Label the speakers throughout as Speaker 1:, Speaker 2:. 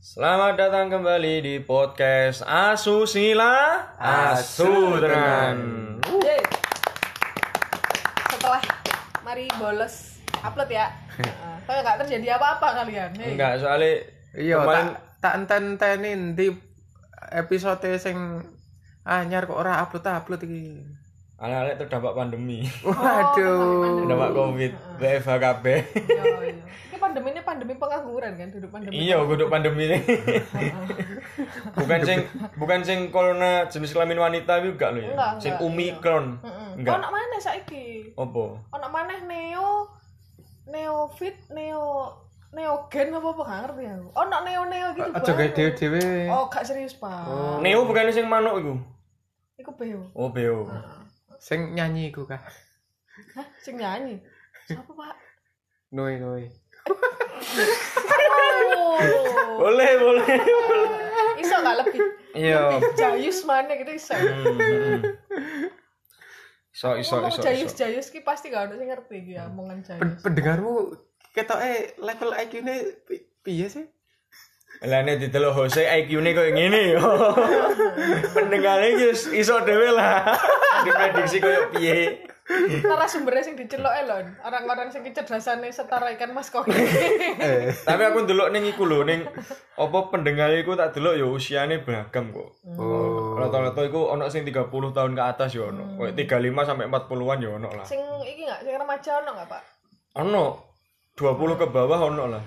Speaker 1: Selamat datang kembali di podcast Asusila Asudran.
Speaker 2: Yeay. Setelah mari bolos upload ya. Heeh. Tapi nggak terjadi apa-apa ya. kalian. Hei.
Speaker 1: Enggak soalnya
Speaker 3: Iya,
Speaker 1: kemarin
Speaker 3: tak tak enten-entenin di episode sing anyar kok ora upload-upload iki.
Speaker 1: anak-anak terdampak pandemi,
Speaker 3: Waduh.
Speaker 1: terdampak covid, WFH kabeh.
Speaker 2: Yo, yo. Ini pandemi ini pandemi pengangguran kan, duduk pandemi.
Speaker 1: Iya, kudu pandemi ini. bukan sing bukan sing corona jenis kelamin wanita itu enggak loh ya.
Speaker 2: Enggak,
Speaker 1: sing
Speaker 2: enggak,
Speaker 1: omikron.
Speaker 2: Enggak.
Speaker 1: Enggak.
Speaker 2: Ono maneh saiki?
Speaker 1: Opo?
Speaker 2: Ono maneh neo neo fit neo neo gen apa apa nggak ngerti aku. Ono neo neo gitu.
Speaker 3: Aja
Speaker 2: baru.
Speaker 3: gawe dhewe-dhewe.
Speaker 2: Oh, gak serius, Pak.
Speaker 1: Neo bukan sing manuk iku.
Speaker 2: Iku beo.
Speaker 1: Oh, beo.
Speaker 3: Sing nyanyi iku kah.
Speaker 2: Hah, sing nyanyi. Siapa, Pak?
Speaker 3: Noi noi.
Speaker 2: Oh.
Speaker 1: Boleh, boleh.
Speaker 2: Iso gak lebih.
Speaker 1: Iya.
Speaker 2: Jayus mana gitu iso.
Speaker 1: Hmm. Iso iso
Speaker 2: Ngomong
Speaker 1: iso.
Speaker 2: jayus
Speaker 1: iso.
Speaker 2: jayus ki pasti gak ada sing ngerti ki ya omongan
Speaker 3: Pen-
Speaker 2: jayus.
Speaker 3: Pendengarmu ketoke level IQ-ne pi- piye sih?
Speaker 1: Lah nek didelok Jose IQ-ne koyo ngene yo. Pendengare iki wis iso dhewe lah. Diprediksi koyo piye.
Speaker 2: Narasumbernya sing dicelok elon, orang-orang sing kecerdasannya setara ikan mas koi.
Speaker 3: Eh,
Speaker 1: Tapi aku ndelok ning iku lho ning apa pendengare iku tak delok yo usiane beragam kok.
Speaker 3: Oh.
Speaker 1: Rata-rata iku ono sing 30 tahun ke atas yo ono. Koyo 35 sampai 40-an yo ono lah.
Speaker 2: sing iki nggak, sing remaja ono nggak pak?
Speaker 1: Ono 20 ke bawah ono lah.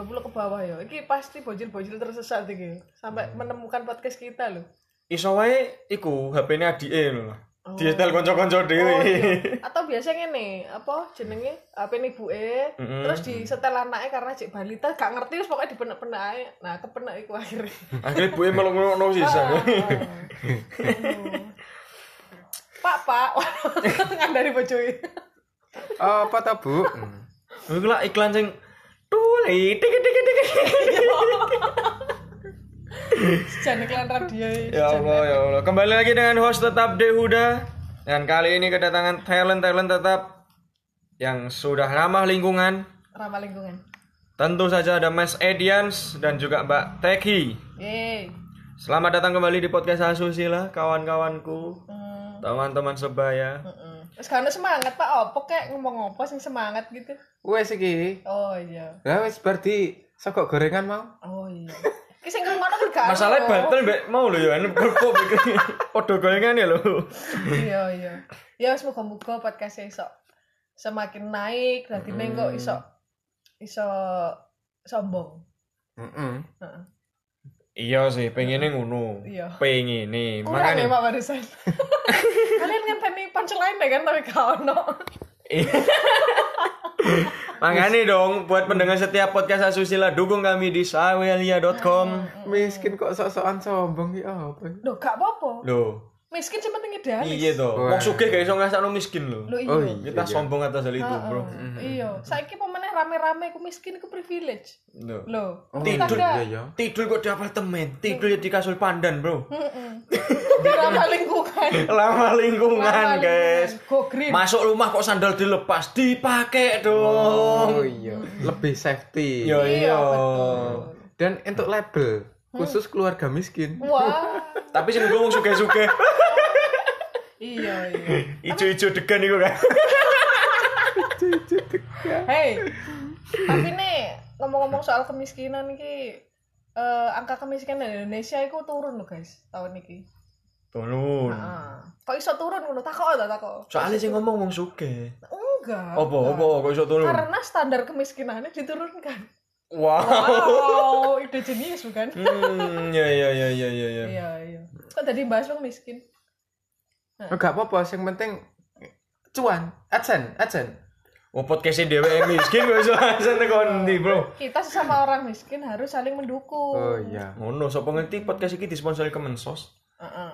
Speaker 2: 20 ke bawah ya, iki pasti bojil-bojil tersesat iki sampai
Speaker 1: Hmm.
Speaker 2: menemukan podcast kita
Speaker 1: Eh.
Speaker 2: loh.
Speaker 1: Iso wae iku HP-ne adike ngono lah. Diestel kanca-kanca dhewe.
Speaker 2: Oh, iya. Atau biasanya nih, apa jenenge HP ini ibu e,
Speaker 1: Hmm.
Speaker 2: terus di setel anaknya karena cek balita gak ngerti terus pokoknya dipenek-penek ae. Nah, kepenek iku akhirnya.
Speaker 1: Akhirnya buke melok-melokno sisan.
Speaker 2: Oh. Pak, Pak. Ngandari bojoe.
Speaker 3: Oh, apa ta, Bu?
Speaker 1: Iku lah iklan sing tuli tik tik tik.
Speaker 2: Jan iklan radio.
Speaker 1: Ya Allah ya Allah. Kembali lagi dengan host tetap Dehuda dan kali ini kedatangan talent-talent tetap yang sudah ramah lingkungan.
Speaker 2: Ramah lingkungan.
Speaker 1: Tentu saja ada Mas Edians dan juga Mbak Teki.
Speaker 2: Yeay.
Speaker 1: Selamat datang kembali di podcast Asusila, kawan-kawanku,
Speaker 2: Hmm.
Speaker 1: teman-teman sebaya.
Speaker 2: mm-mm. Terus kan semangat Pak opo kayak ngomong apa sing semangat gitu.
Speaker 3: Wes iki.
Speaker 2: Oh iya.
Speaker 3: Lah wes bar di sego gorengan mau.
Speaker 2: Oh iya. Ki sing ngono kan gak.
Speaker 1: Masalahnya
Speaker 2: ono.
Speaker 1: bantal mbak mau lo ya, berpuk Podo gorengan ya lo.
Speaker 2: Iya iya. Ya wis muga-muga podcast e iso semakin naik, dadi neng kok iso iso sombong.
Speaker 3: Heeh.
Speaker 2: Heeh.
Speaker 1: Iya sih, pengennya ngono.
Speaker 2: Iya.
Speaker 1: Pengennya.
Speaker 2: Kurang ya
Speaker 1: Makanya.
Speaker 2: Pak barusan. Kalian kan tadi punchline deh kan tapi gak ono.
Speaker 1: Makanya dong, buat pendengar setiap podcast Asusila, dukung kami di sawelia.com.
Speaker 3: Miskin kok sok-sokan sombong iki apa?
Speaker 2: Loh gak apa-apa.
Speaker 1: Loh,
Speaker 2: Miskin sing penting idealis.
Speaker 1: iya toh. Wong
Speaker 3: Wah.
Speaker 1: sugih gak iso ngrasakno miskin lho.
Speaker 2: Loh iya.
Speaker 3: Oh, iya.
Speaker 1: Kita sombong atas hal itu, Bro.
Speaker 2: Iya, saiki pemenang rame-rame ku miskin ku privilege.
Speaker 1: Loh.
Speaker 2: Loh,
Speaker 3: Oh,
Speaker 2: kita
Speaker 1: tidur,
Speaker 2: gak-
Speaker 3: Iya ya.
Speaker 1: Tidur kok di apartemen, tidur ya di kasur pandan, Bro.
Speaker 2: Mm-mm. Di ramah lingkungan.
Speaker 1: Lama
Speaker 2: Ramah
Speaker 1: lingkungan, guys.
Speaker 2: lingkungan. Go green.
Speaker 1: Masuk rumah kok sandal dilepas, dipakai dong.
Speaker 3: Oh iya, lebih safety.
Speaker 1: Yo
Speaker 2: Iya,
Speaker 1: iya.
Speaker 2: betul.
Speaker 3: Dan untuk
Speaker 2: Hmm.
Speaker 3: label khusus keluarga miskin.
Speaker 2: Wah.
Speaker 1: Tapi sing gue wong sugih-sugih.
Speaker 2: Iya, iya.
Speaker 1: Ijo-ijo degan iku kan.
Speaker 2: Hei, tapi nih ngomong-ngomong soal kemiskinan ki eh, angka kemiskinan di Indonesia itu turun loh guys tahun ini.
Speaker 1: Tolong.
Speaker 2: Ah, kok iso turun ngono takok ta
Speaker 1: Hmm.
Speaker 2: takok.
Speaker 1: Soalnya sing ngomong wong sugih.
Speaker 2: Enggak.
Speaker 1: Apa apa kok iso tolong?
Speaker 2: Karena standar kemiskinannya diturunkan.
Speaker 1: Wow.
Speaker 2: Wow, ide jenius bukan?
Speaker 1: Hmm, ya ya ya ya ya ya.
Speaker 2: Iya, iya. Kok tadi bahas wong miskin? Hmm.
Speaker 3: Enggak apa-apa, yang penting cuan, adsen, adsen.
Speaker 1: Oh podcastnya dewe miskin kok iso asen teko endi, Bro?
Speaker 2: Kita sesama orang miskin harus saling mendukung.
Speaker 3: Oh iya.
Speaker 1: Ngono, sapa ngerti podcast iki disponsori Kemensos?
Speaker 2: Heeh.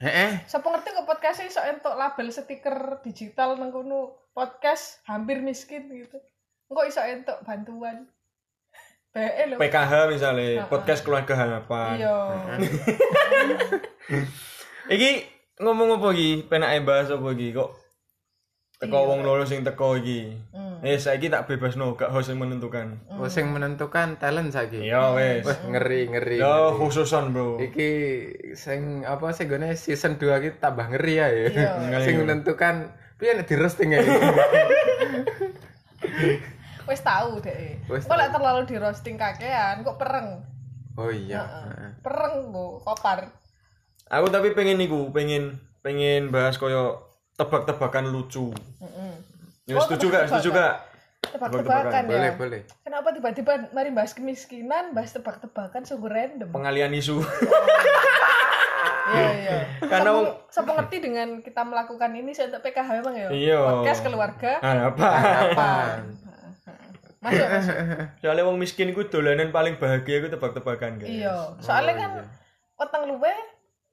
Speaker 3: Heeh. eh,
Speaker 2: Siapa ngerti kok podcast iso entuk label stiker digital nang kono podcast hampir miskin gitu. Engko iso entuk bantuan. BE lho.
Speaker 1: PKH misalnya, podcast keluarga harapan.
Speaker 2: Iya.
Speaker 1: Iki e
Speaker 2: Iya.
Speaker 1: ngomong apa iki? Penake bahas apa iki kok teko wong loro sing teko iki.
Speaker 2: Hmm.
Speaker 1: Eh, saiki tak bebasno, gak host yang menentukan.
Speaker 3: Oh, sing menentukan talent saiki.
Speaker 1: Iya wes.
Speaker 3: Wah, ngeri ngeri.
Speaker 1: Yo khususan, Bro.
Speaker 3: Iki sing apa sih gone season 2 iki tambah ngeri ya. ya.
Speaker 2: Iya.
Speaker 3: sing menentukan piye nek di roasting ya.
Speaker 2: Wis tahu deh.
Speaker 3: Wis
Speaker 2: Kok lek terlalu di roasting kakean kok pereng.
Speaker 3: Oh iya.
Speaker 2: Pereng kok kopar.
Speaker 1: Aku tapi pengen niku, pengen pengen bahas koyo tebak-tebakan lucu.
Speaker 2: Heeh.
Speaker 1: Ya
Speaker 2: Oh,
Speaker 1: setuju gak? Setuju
Speaker 2: tebak-tebakan.
Speaker 1: gak?
Speaker 2: Tebak-tebakan ya.
Speaker 3: Boleh, boleh.
Speaker 2: Kenapa tiba-tiba mari bahas kemiskinan, bahas tebak-tebakan sungguh random.
Speaker 1: Pengalian isu.
Speaker 2: Iya, iya.
Speaker 1: Karena
Speaker 2: Karena
Speaker 1: wong-
Speaker 2: sapa ngerti dengan kita melakukan ini saya untuk PKH memang ya.
Speaker 1: Iya. Ah,
Speaker 2: Podcast keluarga.
Speaker 1: Harapan.
Speaker 3: Apaan?
Speaker 2: Masuk, masuk.
Speaker 1: Soalnya wong miskin ku dolanan paling bahagia ku tebak-tebakan, guys.
Speaker 2: Iya. Soalnya kan weteng luwe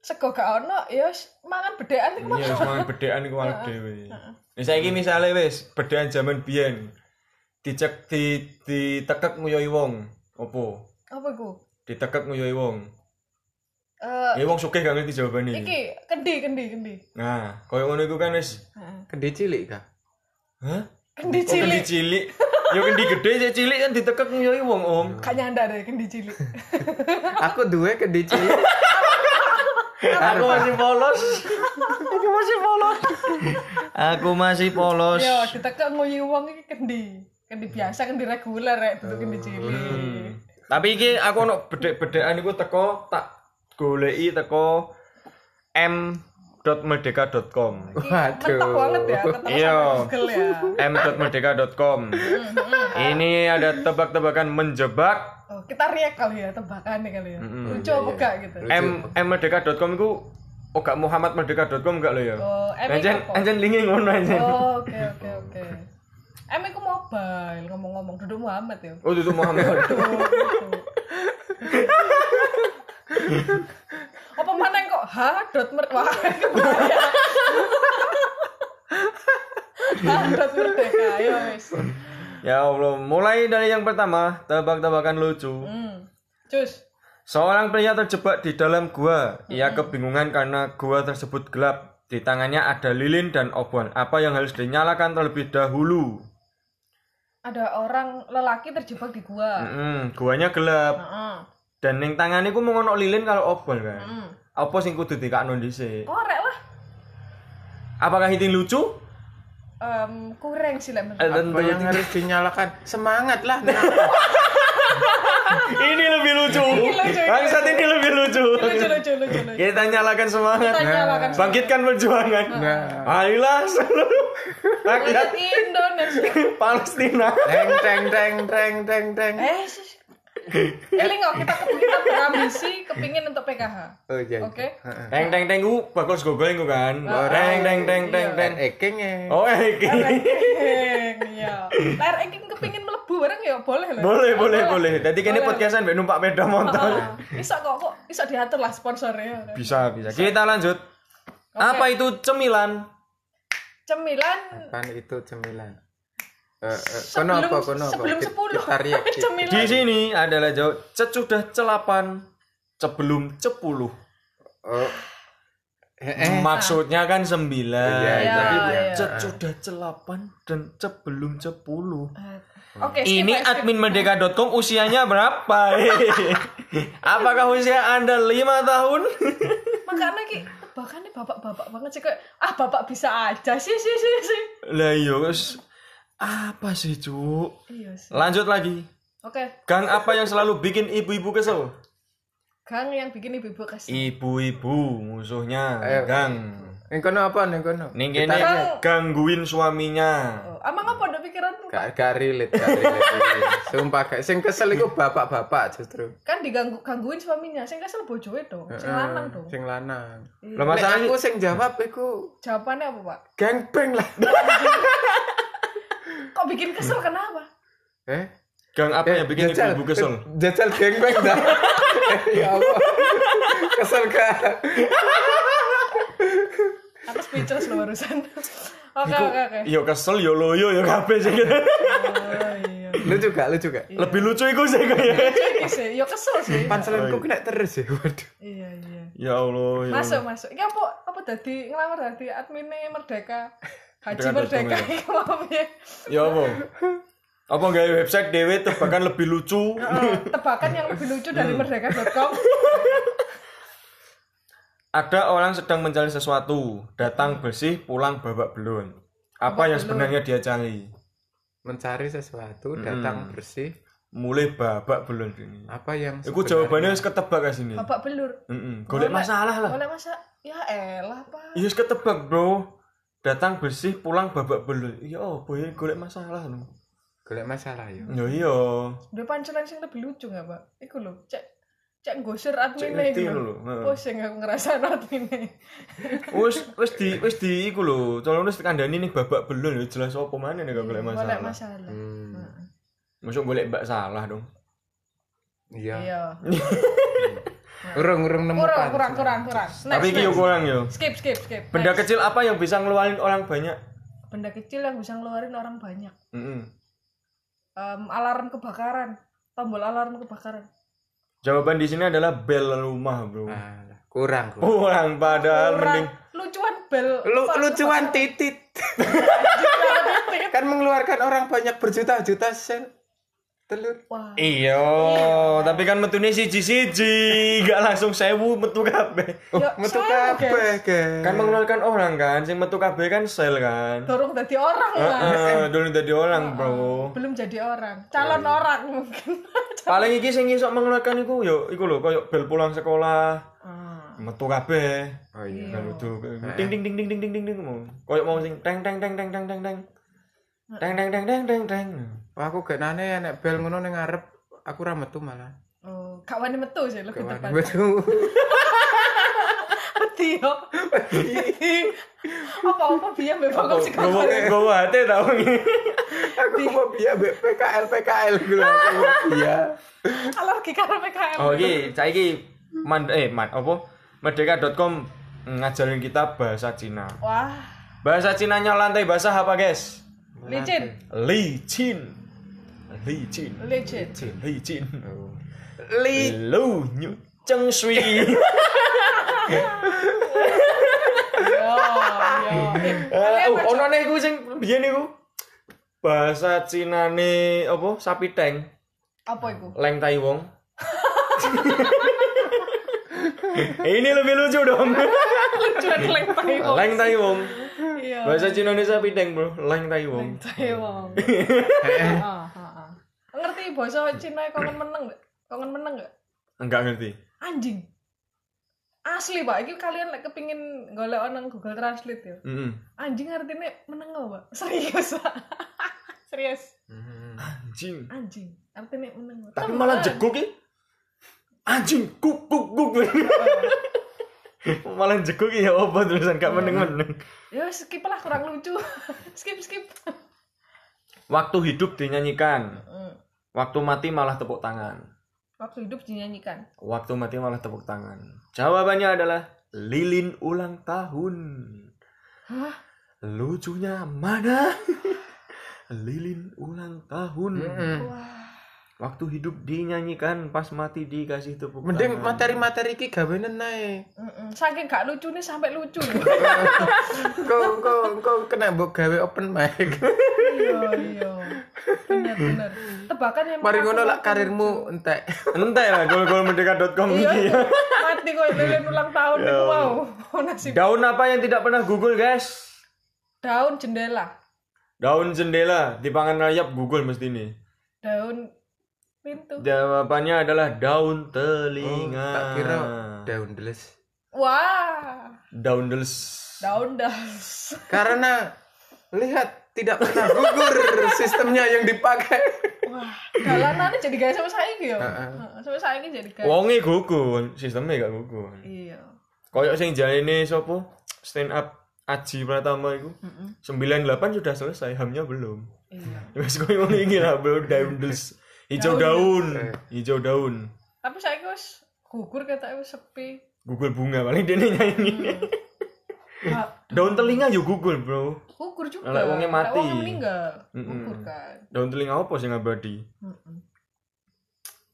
Speaker 2: sego gak ono ya wis, mangan bedaan iku
Speaker 1: Iya, semangat bedaan iku arep dhewe. Nah, saiki misale wis bedaan zaman biyen dicek di ditekek nguyoi wong. Opo?
Speaker 2: apa iku?
Speaker 1: Ditekek nguyoi wong.
Speaker 2: Eh
Speaker 1: Ya wong sugih gak ngerti jawabane.
Speaker 2: iki kendi kendi kendi.
Speaker 1: Nah, koyo ngono iku kan wis
Speaker 2: Heeh.
Speaker 3: Kendi cilik kah?
Speaker 1: Hah? Oh,
Speaker 2: Kendi
Speaker 1: kendi
Speaker 2: cilik.
Speaker 1: cilik. Ya kendi gede sih cilik kan ditekek nguyoi wong, Om.
Speaker 2: Gak nyandar ya kendi cilik.
Speaker 3: Aku duwe kendi cilik.
Speaker 1: Aku masih polos. Aku masih polos. Aku masih polos.
Speaker 2: Yo, ditekek nguyu wong iki kendi. Kendi biasa, kendi reguler rek, bentuk kendi
Speaker 1: Hmm.
Speaker 2: cilik.
Speaker 1: Tapi iki aku ono bedek-bedekan iku teko tak goleki teko m.merdeka.com.
Speaker 2: Mentok banget ya, ketemu sama
Speaker 1: Iya.
Speaker 2: Google ya.
Speaker 1: m.merdeka.com.
Speaker 2: Hmm.
Speaker 1: Ini ada tebak-tebakan menjebak.
Speaker 2: Oh, kita react kali ya, tebakan nih kali ya. Lucu apa gak gitu?
Speaker 1: M merdeka.com iku oh gak muhammadmerdeka.com gak lo ya?
Speaker 2: Oh, M iku
Speaker 1: Anjen
Speaker 2: apa?
Speaker 1: anjen linge ngono anjen.
Speaker 2: Oh, oke oke oke. Em iku mobile ngomong-ngomong duduk Muhammad ya.
Speaker 1: Oh, itu Muhammad.
Speaker 2: Duduk, duduk. Apa mana kok h dot mer wah itu bahaya. H dot merdeka ayo wis.
Speaker 1: ya Allah, mulai dari yang pertama, tebak-tebakan lucu.
Speaker 2: Hmm. Cus.
Speaker 1: Seorang pria terjebak di dalam gua. Ia kebingungan karena gua tersebut gelap. Di tangannya ada lilin dan obon. Apa yang harus dinyalakan terlebih dahulu?
Speaker 2: Ada orang lelaki terjebak di gua.
Speaker 1: Hmm, guanya gelap.
Speaker 2: Heeh.
Speaker 1: Dan ning tangannya ku mau ngono lilin kalau obon kan.
Speaker 2: Hmm.
Speaker 1: Apa sing kudu dikakno dhisik?
Speaker 2: Korek lah.
Speaker 1: Apakah itu lucu?
Speaker 2: Em, kurang sih lek menurut.
Speaker 1: Eh, tentu
Speaker 3: Apa ya? yang
Speaker 1: tidak.
Speaker 3: harus dinyalakan? Semangat lah.
Speaker 1: ini lebih lucu.
Speaker 2: lucu, ini
Speaker 1: Bangsat ini lebih lucu.
Speaker 2: Lucu lucu lucu lucu.
Speaker 1: Kita nyalakan semangat. Nah,
Speaker 2: Kita nyalakan
Speaker 1: Bangkitkan perjuangan.
Speaker 3: Nah.
Speaker 1: Marilah seluruh rakyat
Speaker 2: Rakyat Indonesia.
Speaker 1: Palestina.
Speaker 3: Teng teng teng teng teng teng.
Speaker 2: Eh, sus. Eling kok kita kita berambisi kepingin untuk PKH.
Speaker 3: Oh iya.
Speaker 2: Oke.
Speaker 1: Teng teng teng ku bagus gue gue kan.
Speaker 2: Oh, iya,
Speaker 1: Teng teng teng teng teng.
Speaker 3: Ekeng ya.
Speaker 1: Oh iki.
Speaker 2: Eng, Iya. Lar engking kepingin melebu bareng ya boleh lah.
Speaker 1: Boleh boleh boleh. Jadi kene podcastan mbek numpak sepeda motor.
Speaker 2: Heeh. Bisa kok kok bisa diatur lah sponsornya.
Speaker 1: Bisa bisa. Kita lanjut. Apa itu cemilan?
Speaker 2: Cemilan
Speaker 3: Kan itu cemilan. Eh, eh, kono
Speaker 2: sebelum
Speaker 3: apa kono apa?
Speaker 2: sebelum
Speaker 3: Kita-
Speaker 2: 10.
Speaker 3: Kita riak.
Speaker 2: Cemilan.
Speaker 1: ya, Di sini adalah jauh cecudah celapan sebelum cepuluh.
Speaker 3: Oh. Eh, eh.
Speaker 1: Maksudnya kan
Speaker 3: Iya,
Speaker 1: sembilan.
Speaker 3: iya,
Speaker 1: Jadi
Speaker 2: iya.
Speaker 1: cecudah celapan dan sebelum cepuluh.
Speaker 2: Oke, skip,
Speaker 1: Ini
Speaker 2: skip.
Speaker 1: admin merdeka.com usianya berapa? Apakah usia Anda lima tahun?
Speaker 2: Makanya ki bahkan nih bapak-bapak banget sih kayak ah bapak bisa aja sih sih sih sih.
Speaker 1: Lah iya, wes. apa sih, Cuk?
Speaker 2: Iya sih.
Speaker 1: Lanjut lagi.
Speaker 2: Oke,
Speaker 1: Gang apa yang selalu bikin ibu-ibu kesel?
Speaker 2: Kang yang bikin ibu-ibu kesel.
Speaker 1: Ibu-ibu musuhnya gang.
Speaker 3: Ini kono apa nih kono?
Speaker 1: Eh,
Speaker 3: ya?
Speaker 1: Ning kene gangguin suaminya.
Speaker 2: Oh, Amang apa udah pikiranmu?
Speaker 3: Gak gak relate, gak relate. ini. Sumpah gak sing kesel iku bapak-bapak justru.
Speaker 2: kan diganggu gangguin suaminya sing kesel bojoe dong sing lanang dong
Speaker 3: Eh, Sing lanang.
Speaker 1: Lah
Speaker 3: Nek
Speaker 1: masalahnya
Speaker 3: aku sing jawab iku
Speaker 2: jawabannya apa pak
Speaker 3: gangbeng lah.
Speaker 2: kok bikin kesel kenapa
Speaker 3: Eh?
Speaker 1: gang apa yang bikin
Speaker 3: jajal-
Speaker 1: ibu-ibu kesel?
Speaker 3: Jajal gangbeng dah. ya Allah. Kesel gak?
Speaker 2: aku speechless loh barusan oke
Speaker 1: Iku,
Speaker 2: oke oke
Speaker 1: Yo kesel, yo loyo, yo kabeh sih.
Speaker 2: Oh, iya.
Speaker 3: Lucu gak? Lucu gak?
Speaker 1: Lebih lucu iku sih kayaknya.
Speaker 2: Iya sih, ya kesel sih
Speaker 1: Iya.
Speaker 3: Panselanku kena terus ya. Waduh.
Speaker 2: iya iya
Speaker 1: Ya Allah, ya Allah.
Speaker 2: masuk masuk ini apa apa tadi ngelamar tadi adminnya merdeka Haji
Speaker 1: Dengan
Speaker 2: Merdeka
Speaker 1: dodongan.
Speaker 2: iki mau piye?
Speaker 1: Ya apa? Apa nggak website dewe tuh bahkan lebih lucu.
Speaker 2: Heeh, Tebakan yang lebih lucu dari merdeka.com.
Speaker 1: Iya. Ada orang sedang mencari sesuatu, datang bersih, pulang babak belum. Apa
Speaker 2: Hmm. Babak
Speaker 1: yang
Speaker 2: belur.
Speaker 1: sebenarnya dia cari?
Speaker 3: mencari sesuatu datang
Speaker 1: Mm.
Speaker 3: bersih
Speaker 1: Mulai babak belum ini.
Speaker 3: apa yang
Speaker 1: Iku
Speaker 3: sebenarnya-
Speaker 1: jawabannya wis ketebak kan sini.
Speaker 2: Bapak belur.
Speaker 1: Heeh. Golek
Speaker 2: Golek-
Speaker 1: masalah lah.
Speaker 2: Oleh masa ya elah, Pak.
Speaker 1: Iya wis ketebak, Bro. Datang bersih, pulang babak belur. Iya apa ya golek masalah lho.
Speaker 3: golek masalah ya
Speaker 1: Ya iya.
Speaker 2: Duwe pancelan sing lebih lucu nggak Pak? Iku lho, cek cek ngosir
Speaker 1: Cek
Speaker 2: admine
Speaker 1: ngerti
Speaker 2: iku.
Speaker 1: lho.
Speaker 2: lho.
Speaker 1: Heeh.
Speaker 2: Oh, sing aku e. ngerasa admine.
Speaker 1: Wis wis di wis di iku lho. Calon wis kandhani nih babak belur ya jelas apa mana nih gak golek
Speaker 2: Golek
Speaker 1: masalah.
Speaker 2: masalah.
Speaker 3: Hmm,
Speaker 2: Heeh.
Speaker 1: Masuk golek mbak salah dong.
Speaker 3: iya
Speaker 2: Iya.
Speaker 3: urung urung nemu
Speaker 2: Kurang
Speaker 3: panci.
Speaker 2: kurang kurang kurang. Next,
Speaker 1: Tapi iki yo
Speaker 2: next.
Speaker 1: kurang yo.
Speaker 2: Skip skip skip.
Speaker 1: Benda
Speaker 2: Next.
Speaker 1: kecil apa yang bisa ngeluarin orang banyak?
Speaker 2: benda kecil yang bisa ngeluarin orang banyak.
Speaker 1: Mm-mm.
Speaker 2: Em, alarm kebakaran, tombol alarm kebakaran.
Speaker 1: Jawaban di sini adalah bel rumah, Bro.
Speaker 3: Ah, kurang kurang
Speaker 1: Kurang padahal Eh, mending
Speaker 2: Kurang lucuan bel.
Speaker 3: lu
Speaker 2: apa,
Speaker 3: lucuan titit
Speaker 2: kebakaran.
Speaker 3: kan mengeluarkan orang banyak berjuta-juta sen telur
Speaker 2: Wah,
Speaker 1: Iya, tapi kan metune siji-siji, gak langsung sewu metu kabeh.
Speaker 3: oh,
Speaker 2: Ya,
Speaker 3: metu
Speaker 2: sel,
Speaker 3: kabeh guys.
Speaker 1: Kan mengeluarkan orang kan, sing metu kabeh kan sel kan.
Speaker 2: dorong jadi orang lah.
Speaker 1: Heeh, dulu dari orang, Bro.
Speaker 2: Belum jadi orang, calon orang mungkin.
Speaker 1: Paling iki sing iso mengeluarkan iku yo iku lho koyo bel pulang sekolah,
Speaker 2: Ah,
Speaker 1: metu kabeh.
Speaker 3: oh iya
Speaker 1: Kan itu ding ding ding ding ding ding ding ding mau. Koyo mau sing teng teng teng teng teng teng teng. Teng teng teng teng teng teng.
Speaker 3: Wah, aku gak nane nek bel ngono ning ngarep aku ra metu malah.
Speaker 2: oh, gak wani metu sih lebih
Speaker 3: Gak
Speaker 2: tepat.
Speaker 3: wani metu.
Speaker 2: Wedi yo. Apa-apa biar memang kok sih
Speaker 1: Gowo gowo ate tau ngi.
Speaker 3: aku fobia be- PKL PKL gitu aku fobia.
Speaker 2: alergi karena PKM.
Speaker 1: Oh iki saiki man eh man apa merdeka.com ngajarin kita bahasa Cina.
Speaker 2: Wah,
Speaker 1: Bahasa Cinanya lantai basah apa, guys?
Speaker 2: licin,
Speaker 1: Licin. Licin.
Speaker 2: licin.
Speaker 1: Licin.
Speaker 3: Li
Speaker 1: Lu nyu ceng sui.
Speaker 2: Yo, yo. Eh,
Speaker 1: Eh,
Speaker 2: kalian
Speaker 1: oh,
Speaker 2: baca-
Speaker 1: ono neh ku sing biyen niku. Bahasa Cinane apa? Sapi teng,
Speaker 2: apa itu?
Speaker 1: leng tai wong. Ini lebih lucu dong.
Speaker 2: Lucuan leng Taiwan.
Speaker 1: leng tai wong.
Speaker 2: Oh, Iya.
Speaker 1: Bahasa Cinane sapi teng, Bro. Leng tai wong.
Speaker 2: Leng Taiwan.
Speaker 3: Hmm,
Speaker 2: Heeh, heeh. Ah, Ngerti bahasa Cina kongen meneng nggak? Kongen meneng nggak?
Speaker 1: Enggak ngerti.
Speaker 2: Anjing. Asli pak, ini kalian lek kepingin golek nang Google Translate ya.
Speaker 1: Heeh.
Speaker 2: Anjing artinya meneng nggak pak? Serius pak? Serius.
Speaker 3: hmm,
Speaker 1: Anjing.
Speaker 2: Anjing. Artinya meneng.
Speaker 1: Tapi
Speaker 2: Temen.
Speaker 1: malah jeguk ya. Anjing kuk kuk kuk. malah jeguk ya apa terusan gak meneng-meneng.
Speaker 2: Ya wes, skip lah kurang lucu. skip skip.
Speaker 1: Waktu hidup dinyanyikan,
Speaker 2: Hmm.
Speaker 1: waktu mati malah tepuk tangan.
Speaker 2: Waktu hidup dinyanyikan.
Speaker 1: Waktu mati malah tepuk tangan. Jawabannya adalah lilin ulang tahun.
Speaker 2: Hah?
Speaker 1: Lucunya mana? lilin ulang tahun.
Speaker 3: hmm.
Speaker 2: Wah.
Speaker 1: Waktu hidup dinyanyikan, pas mati dikasih tepuk
Speaker 3: Mending
Speaker 1: tangan.
Speaker 3: materi-materi iki gawenen nae.
Speaker 2: Mm-mm. Saking gak lucu nih sampai lucu. loh.
Speaker 3: Kau kau kau kena mbok gawe open mic.
Speaker 2: iya iya benar benar tebakan yang
Speaker 3: Mari ngono
Speaker 2: mengaku-
Speaker 3: lah karirmu entek.
Speaker 1: Entek lah ya, gol-gol merdeka.com
Speaker 2: iya
Speaker 1: ini. ya.
Speaker 2: iya. mati kok lilin ulang tahun itu wow nasib
Speaker 1: Daun apa yang tidak pernah Google, guys?
Speaker 2: daun jendela
Speaker 1: Daun jendela di pangan rayap Google mesti ini.
Speaker 2: daun pintu
Speaker 1: Jawabannya adalah daun telinga.
Speaker 3: Oh, Tak kira daun deles.
Speaker 2: wah
Speaker 1: daun dels.
Speaker 2: daun das
Speaker 3: Karena lihat tidak pernah gugur sistemnya yang dipakai.
Speaker 2: wah galanannya jadi guys sama saya gitu
Speaker 3: Heeh.
Speaker 2: sama saya ini jadi guys
Speaker 1: Wonge Google, sistemnya gak Google.
Speaker 2: iya
Speaker 1: Koyok sing jalene sopo? Stand up Aji Pratama itu. 98 sudah selesai, hamnya belum.
Speaker 2: iya
Speaker 1: Wes koyo ngono iki lah, bro, daun dels. Hijau daun,
Speaker 3: Eh.
Speaker 1: hijau daun.
Speaker 2: tapi saya wis gugur kata wis sepi
Speaker 1: Google bunga paling dene nyanyi. Eh.
Speaker 2: Ah,
Speaker 1: Daun telinga yo Google, bro.
Speaker 2: gugur juga
Speaker 1: Lah, wongnya mati.
Speaker 2: Lah, wongnya meninggal
Speaker 1: Mm-mm.
Speaker 2: gugur kan
Speaker 1: Daun telinga apa sing abadi?
Speaker 2: Mm-mm.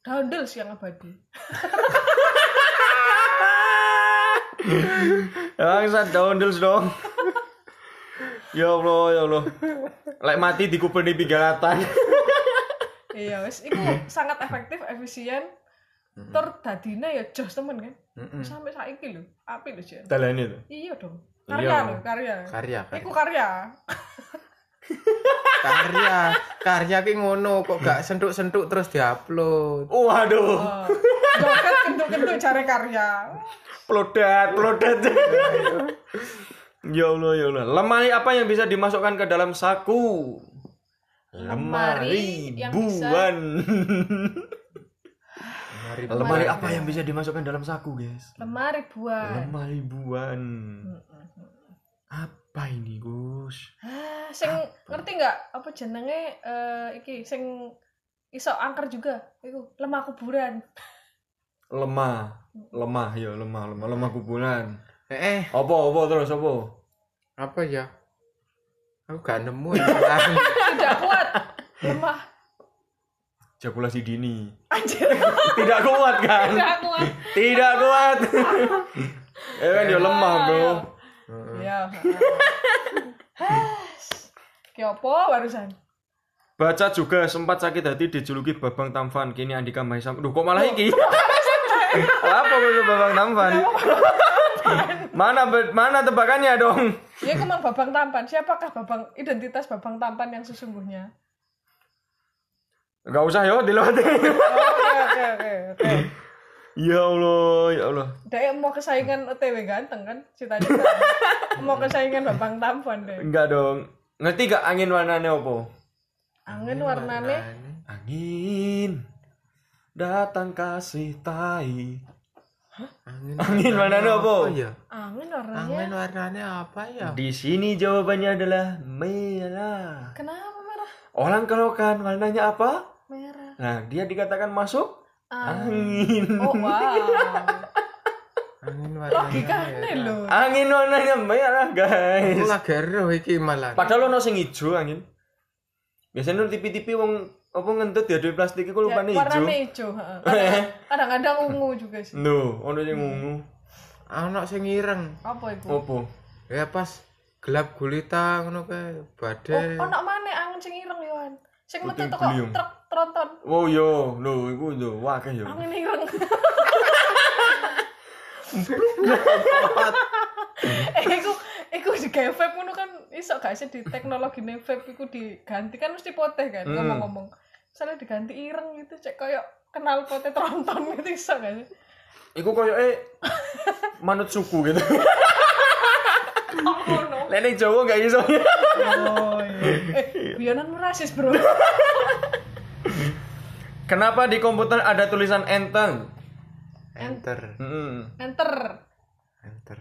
Speaker 2: daun das yang abadi
Speaker 1: Bangsa daun dulu dong. Ya Allah, ya Allah. Lek mati dikupeni pinggangatan.
Speaker 2: Iya wis iku sangat efektif, efisien. Tur dadine ya jos temen kan. Sampai saiki lho, apik lho Jen.
Speaker 1: Dalane itu.
Speaker 2: Iya dong.
Speaker 1: Iya.
Speaker 2: Karya lho, karya.
Speaker 3: Karya,
Speaker 2: Iku
Speaker 3: karya.
Speaker 2: karya.
Speaker 3: karya, karya ki ngono kok gak sentuk-sentuk terus diupload.
Speaker 1: Waduh,
Speaker 2: Oh. Joket kenduk-kenduk cari karya.
Speaker 1: pelodat, pelodat. ya Allah, ya Allah. Lemari apa yang bisa dimasukkan ke dalam saku?
Speaker 2: Lemari yang bisa-
Speaker 1: buan.
Speaker 3: Lemari
Speaker 1: Lemari apa ya? yang bisa dimasukkan dalam saku, guys?
Speaker 2: Lemari buat.
Speaker 1: Lemari buan.
Speaker 2: Mm-mm.
Speaker 1: Apa ini, Gus?
Speaker 2: Ah, sing ngerti nggak apa jenenge eh, iki sing iso angker juga iku lemah kuburan
Speaker 1: Lemah. Lemah, ya lemah, lemah, lemah kuburan.
Speaker 3: Eh, eh,
Speaker 1: Apa, apa terus, apa?
Speaker 3: apa ya? Aku gak nemu. ya.
Speaker 2: tidak kuat lemah
Speaker 1: Jakulasi dini.
Speaker 2: anjir
Speaker 1: Tidak kuat kan?
Speaker 2: tidak kuat
Speaker 1: Tidak kuat. eh kan dia lemah, Bro.
Speaker 2: ya Kiopo barusan
Speaker 1: Baca juga sempat sakit hati dijuluki Babang Tamfan. Kini Andika Mahisam. Duh, kok malah iki? Apa itu Babang Tamfan? mana be- mana tebakannya dong?
Speaker 2: ya iku mang babang tampan siapakah babang identitas babang tampan yang sesungguhnya
Speaker 1: Gak usah yo dilewati.
Speaker 2: Oh, oke oke oke oke
Speaker 1: ya Allah, ya Allah.
Speaker 2: Dek mau kesaingan OTW ganteng kan ceritanya kan? mau kesaingan babang tampan deh
Speaker 1: Enggak dong. Ngerti gak angin warnanya opo?
Speaker 2: angin warnane
Speaker 1: Angin datang kasih tai.
Speaker 3: Angin,
Speaker 1: Angin warnanya opo?
Speaker 3: apa ya?
Speaker 2: angin warnanya
Speaker 3: Angin warnanya apa ya?
Speaker 1: iya. Di sini jawabannya adalah merah.
Speaker 2: Kenapa merah?
Speaker 1: Orang kalau kan warnanya apa?
Speaker 2: Merah.
Speaker 1: Nah, dia dikatakan masuk
Speaker 2: Ah.
Speaker 1: angin.
Speaker 2: Oh wow.
Speaker 3: Angin
Speaker 2: Logikanya
Speaker 3: merah.
Speaker 2: lho.
Speaker 1: Angin warnanya merah,
Speaker 3: Aku
Speaker 1: guys.
Speaker 3: lagi eruh iki malah.
Speaker 1: Padahal ono sing ijo angin. Biasanya nang tipi-tipi wong apa ngentut ya duwe plastik iku
Speaker 2: Ya,
Speaker 1: lupane ijo.
Speaker 2: warnanya hijau. heeh. Kadang- Kadang-kadang ungu juga sih.
Speaker 1: No, ono sing ungu.
Speaker 3: Ana sing ireng.
Speaker 2: Apa itu?
Speaker 1: Opo?
Speaker 3: Ya pas gelap gulita ngono kae
Speaker 2: Oh,
Speaker 3: badai.
Speaker 2: ono mana angin sing ireng Yohan? Sing metu
Speaker 1: Puting
Speaker 2: teko
Speaker 1: beliung.
Speaker 2: truk tronton.
Speaker 1: Wow yo, lho iku yo wakeh yo.
Speaker 2: Angin ireng. eh, iku iku digawe vape ngono kan iso gak sih di teknologine vape iku diganti kan mesti poteh kan
Speaker 1: Hmm.
Speaker 2: ngomong-ngomong. Misalnya diganti ireng gitu cek koyo kenal poteh tronton gitu iso gak sih?
Speaker 1: Iku koyoke manut suku gitu.
Speaker 2: Oh, ngono.
Speaker 1: Lek ning Jawa gak iso.
Speaker 2: Oh iya. Eh, guyonanmu rasis, Bro.
Speaker 1: Kenapa di komputer ada tulisan enteng?
Speaker 3: Enter.
Speaker 1: Hmm.
Speaker 2: Enter.
Speaker 3: Enter.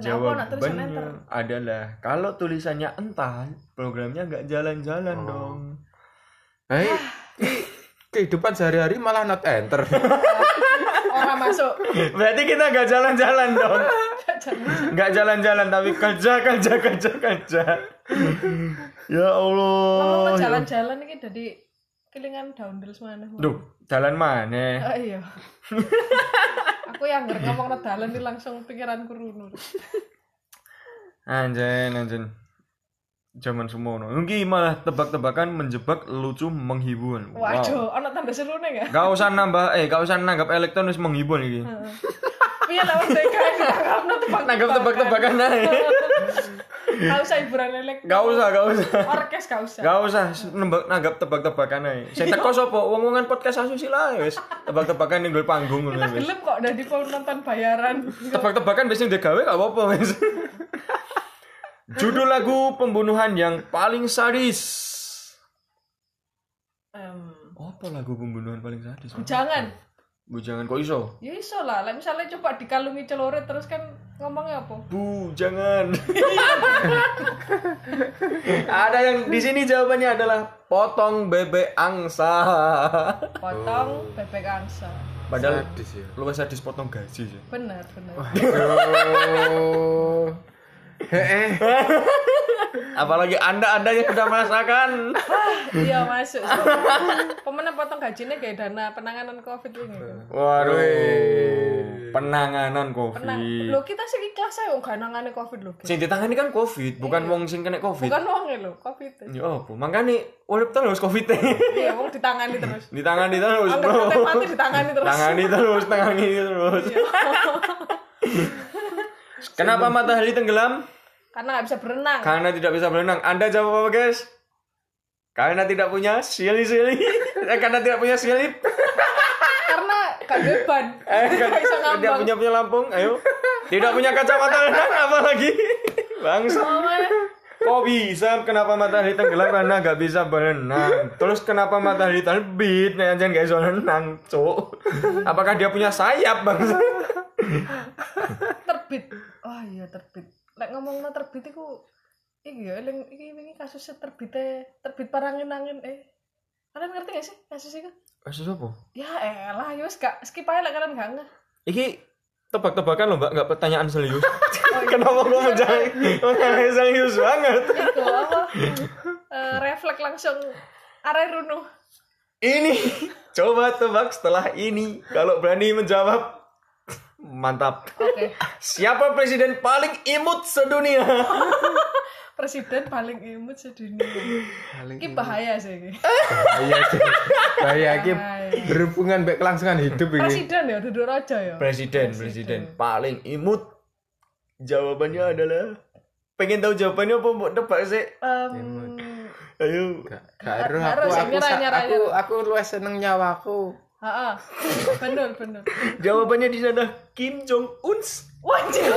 Speaker 2: Kenapa nak tulisan enter?
Speaker 1: adalah kalau tulisannya entar, programnya nggak jalan-jalan
Speaker 3: Oh.
Speaker 1: dong.
Speaker 3: Hei, ki- kehidupan sehari-hari malah not enter.
Speaker 2: Orang masuk.
Speaker 1: Berarti kita nggak jalan-jalan dong.
Speaker 2: Jangan.
Speaker 1: Nggak jalan-jalan tapi kerja kerja kerja kerja. ya Allah.
Speaker 2: Ngomong jalan-jalan iki dadi kelingan downhill semana.
Speaker 1: Duh, jalan mana?
Speaker 2: Oh iya. Aku yang ngger ngomong dalan iki langsung pikiranku runut.
Speaker 1: Anjen anjen. Zaman semono. Mungkin malah tebak-tebakan menjebak lucu menghibur.
Speaker 2: Waduh, ana tanda serune ya?
Speaker 1: Gak usah nambah, eh gak usah nanggap elektron wis menghibur iki.
Speaker 2: Hmm. Piye lah wis tega ditangkapno tebak.
Speaker 1: Nanggap tebak-tebakan ae.
Speaker 2: Gak usah hiburan lelek.
Speaker 1: Gak usah, gak usah.
Speaker 2: Orkes gak usah.
Speaker 1: Gak usah nembak nanggap tebak-tebakan ae. Sing teko sapa? Wong-wongan podcast asusila ae wis. Tebak-tebakan ning dhuwur panggung ngono ya,
Speaker 2: Kita
Speaker 1: wis.
Speaker 2: gelem kok dadi penonton bayaran.
Speaker 1: Tebak-tebakan biasanya udah gawe gak apa-apa wis. Judul lagu pembunuhan yang paling sadis.
Speaker 2: Em,
Speaker 1: Apa lagu pembunuhan paling sadis?
Speaker 2: jangan.
Speaker 1: Bujangan kok iso?
Speaker 2: Ya iso lah, lah misalnya coba dikalungi celurit terus kan ngomongnya apa?
Speaker 1: Bu, jangan. Ada yang di sini jawabannya adalah potong bebek angsa. Oh.
Speaker 2: Potong bebek angsa.
Speaker 1: Padahal
Speaker 3: Sadis ya.
Speaker 1: luwes sadis potong gaji sih. Oh.
Speaker 2: Bener, bener.
Speaker 3: Aduh. Hei, eh.
Speaker 1: Apalagi Anda-anda yang sudah merasakan.
Speaker 2: iya masuk pemenang potong gajinya kayak dana penanganan covid ini
Speaker 1: Waduh.
Speaker 3: Wih.
Speaker 1: Penanganan
Speaker 2: penang
Speaker 1: Covid.
Speaker 2: lo kita sih ikhlas aja nggak nangani covid lo
Speaker 1: Sing ditangani kan Covid, bukan wong sing kena Covid.
Speaker 2: Iya. bukan uangnya lo covid e.
Speaker 1: Ya apa? Makanya urip terus covid
Speaker 2: iya uang ditangani terus
Speaker 1: Ditangani terus,
Speaker 2: Angkat
Speaker 1: Bro.
Speaker 2: mati mati ditangani terus Iya.
Speaker 1: Tangani terus, tangani terus. Kenapa matahari tenggelam?
Speaker 2: karena nggak bisa berenang
Speaker 1: Karena tidak bisa berenang. Anda jawab apa, guys? Karena tidak punya sili-sili. Eh, Karena tidak punya silip.
Speaker 2: karena gak beban
Speaker 1: Eh,
Speaker 2: gak
Speaker 1: kan- tidak
Speaker 2: bisa ngambang
Speaker 1: punya punya Lampung, ayo. Tidak punya kacamata renang apa lagi? Bangsa.
Speaker 2: Oh, mana?
Speaker 1: Kok bisa kenapa matahari tenggelam karena gak bisa berenang? Terus kenapa matahari terbit? Nah, jangan gak bisa renang, cuk. Apakah dia punya sayap, bangsa?
Speaker 2: terbit oh iya terbit lek ngomong no terbit iku iki ya eling iki wingi kasusnya terbitnya terbit parangin angin eh kalian ngerti gak sih kasus itu
Speaker 1: Kasus apa?
Speaker 2: ya elah ya wis gak skip aja lah kalian gak nge
Speaker 1: Iki tebak-tebakan loh, Mbak, gak pertanyaan serius. kenapa gue mencari mencari serius banget?
Speaker 2: itu apa Eh, refleks langsung arah runuh
Speaker 1: Ini coba tebak setelah ini. Kalau berani menjawab, mantap.
Speaker 2: oke
Speaker 1: Siapa presiden paling imut sedunia?
Speaker 2: presiden paling imut sedunia
Speaker 3: Paling
Speaker 2: ini bahaya sih ini
Speaker 3: bahaya sih. Bahaya iki
Speaker 2: Bahaya.
Speaker 3: Iya. berhubungan mbek kelangsungan hidup iki.
Speaker 2: presiden ya duduk raja ya
Speaker 1: Presiden, presiden paling imut. Jawabannya adalah pengen tahu jawabannya apa mau tebak sih?
Speaker 2: Em,
Speaker 1: Ayo.
Speaker 3: Gak gak eruh
Speaker 2: Gak
Speaker 3: aku
Speaker 2: eruh sih,
Speaker 3: aku
Speaker 2: nyerah,
Speaker 3: sa-
Speaker 2: nyerah,
Speaker 3: aku aku luwes seneng nyawaku.
Speaker 2: ha bener bener
Speaker 1: Jawabannya di sana Kim Jong Un.
Speaker 2: wajib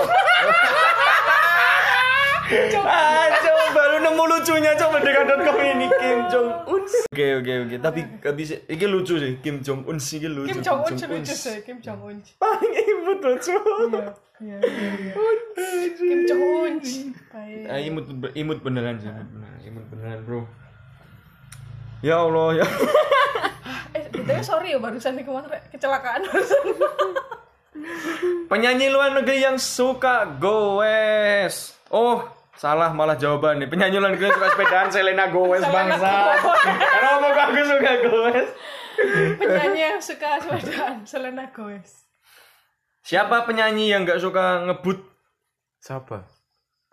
Speaker 1: Ah, coba baru nemu lucunya coba merdeka.com ini Kim Jong Un. Oke, oke, oke. Tapi tapi sih, ini lucu sih Kim Jong Un sih ini lucu.
Speaker 2: Kim Jong Un
Speaker 1: Jong-un.
Speaker 2: lucu sih Kim Jong Un
Speaker 1: Paling imut lucu.
Speaker 2: Iya, iya, iya, iya. Kim Jong Un baik
Speaker 1: Ah, imut imut beneran sih. imut beneran, Imut beneran, Bro. Ya Allah, ya.
Speaker 2: eh btw sorry ya barusan nih kemarin Rek. kecelakaan barusan
Speaker 1: Penyanyi luar negeri yang suka goes. Oh, salah malah jawaban nih. Penyanyi luar negeri yang suka sepedaan Selena Gomez bangsa. Kenapa kok aku suka goes?
Speaker 2: penyanyi yang suka sepedaan Selena Gomez
Speaker 1: Siapa penyanyi yang nggak suka ngebut?
Speaker 3: Siapa?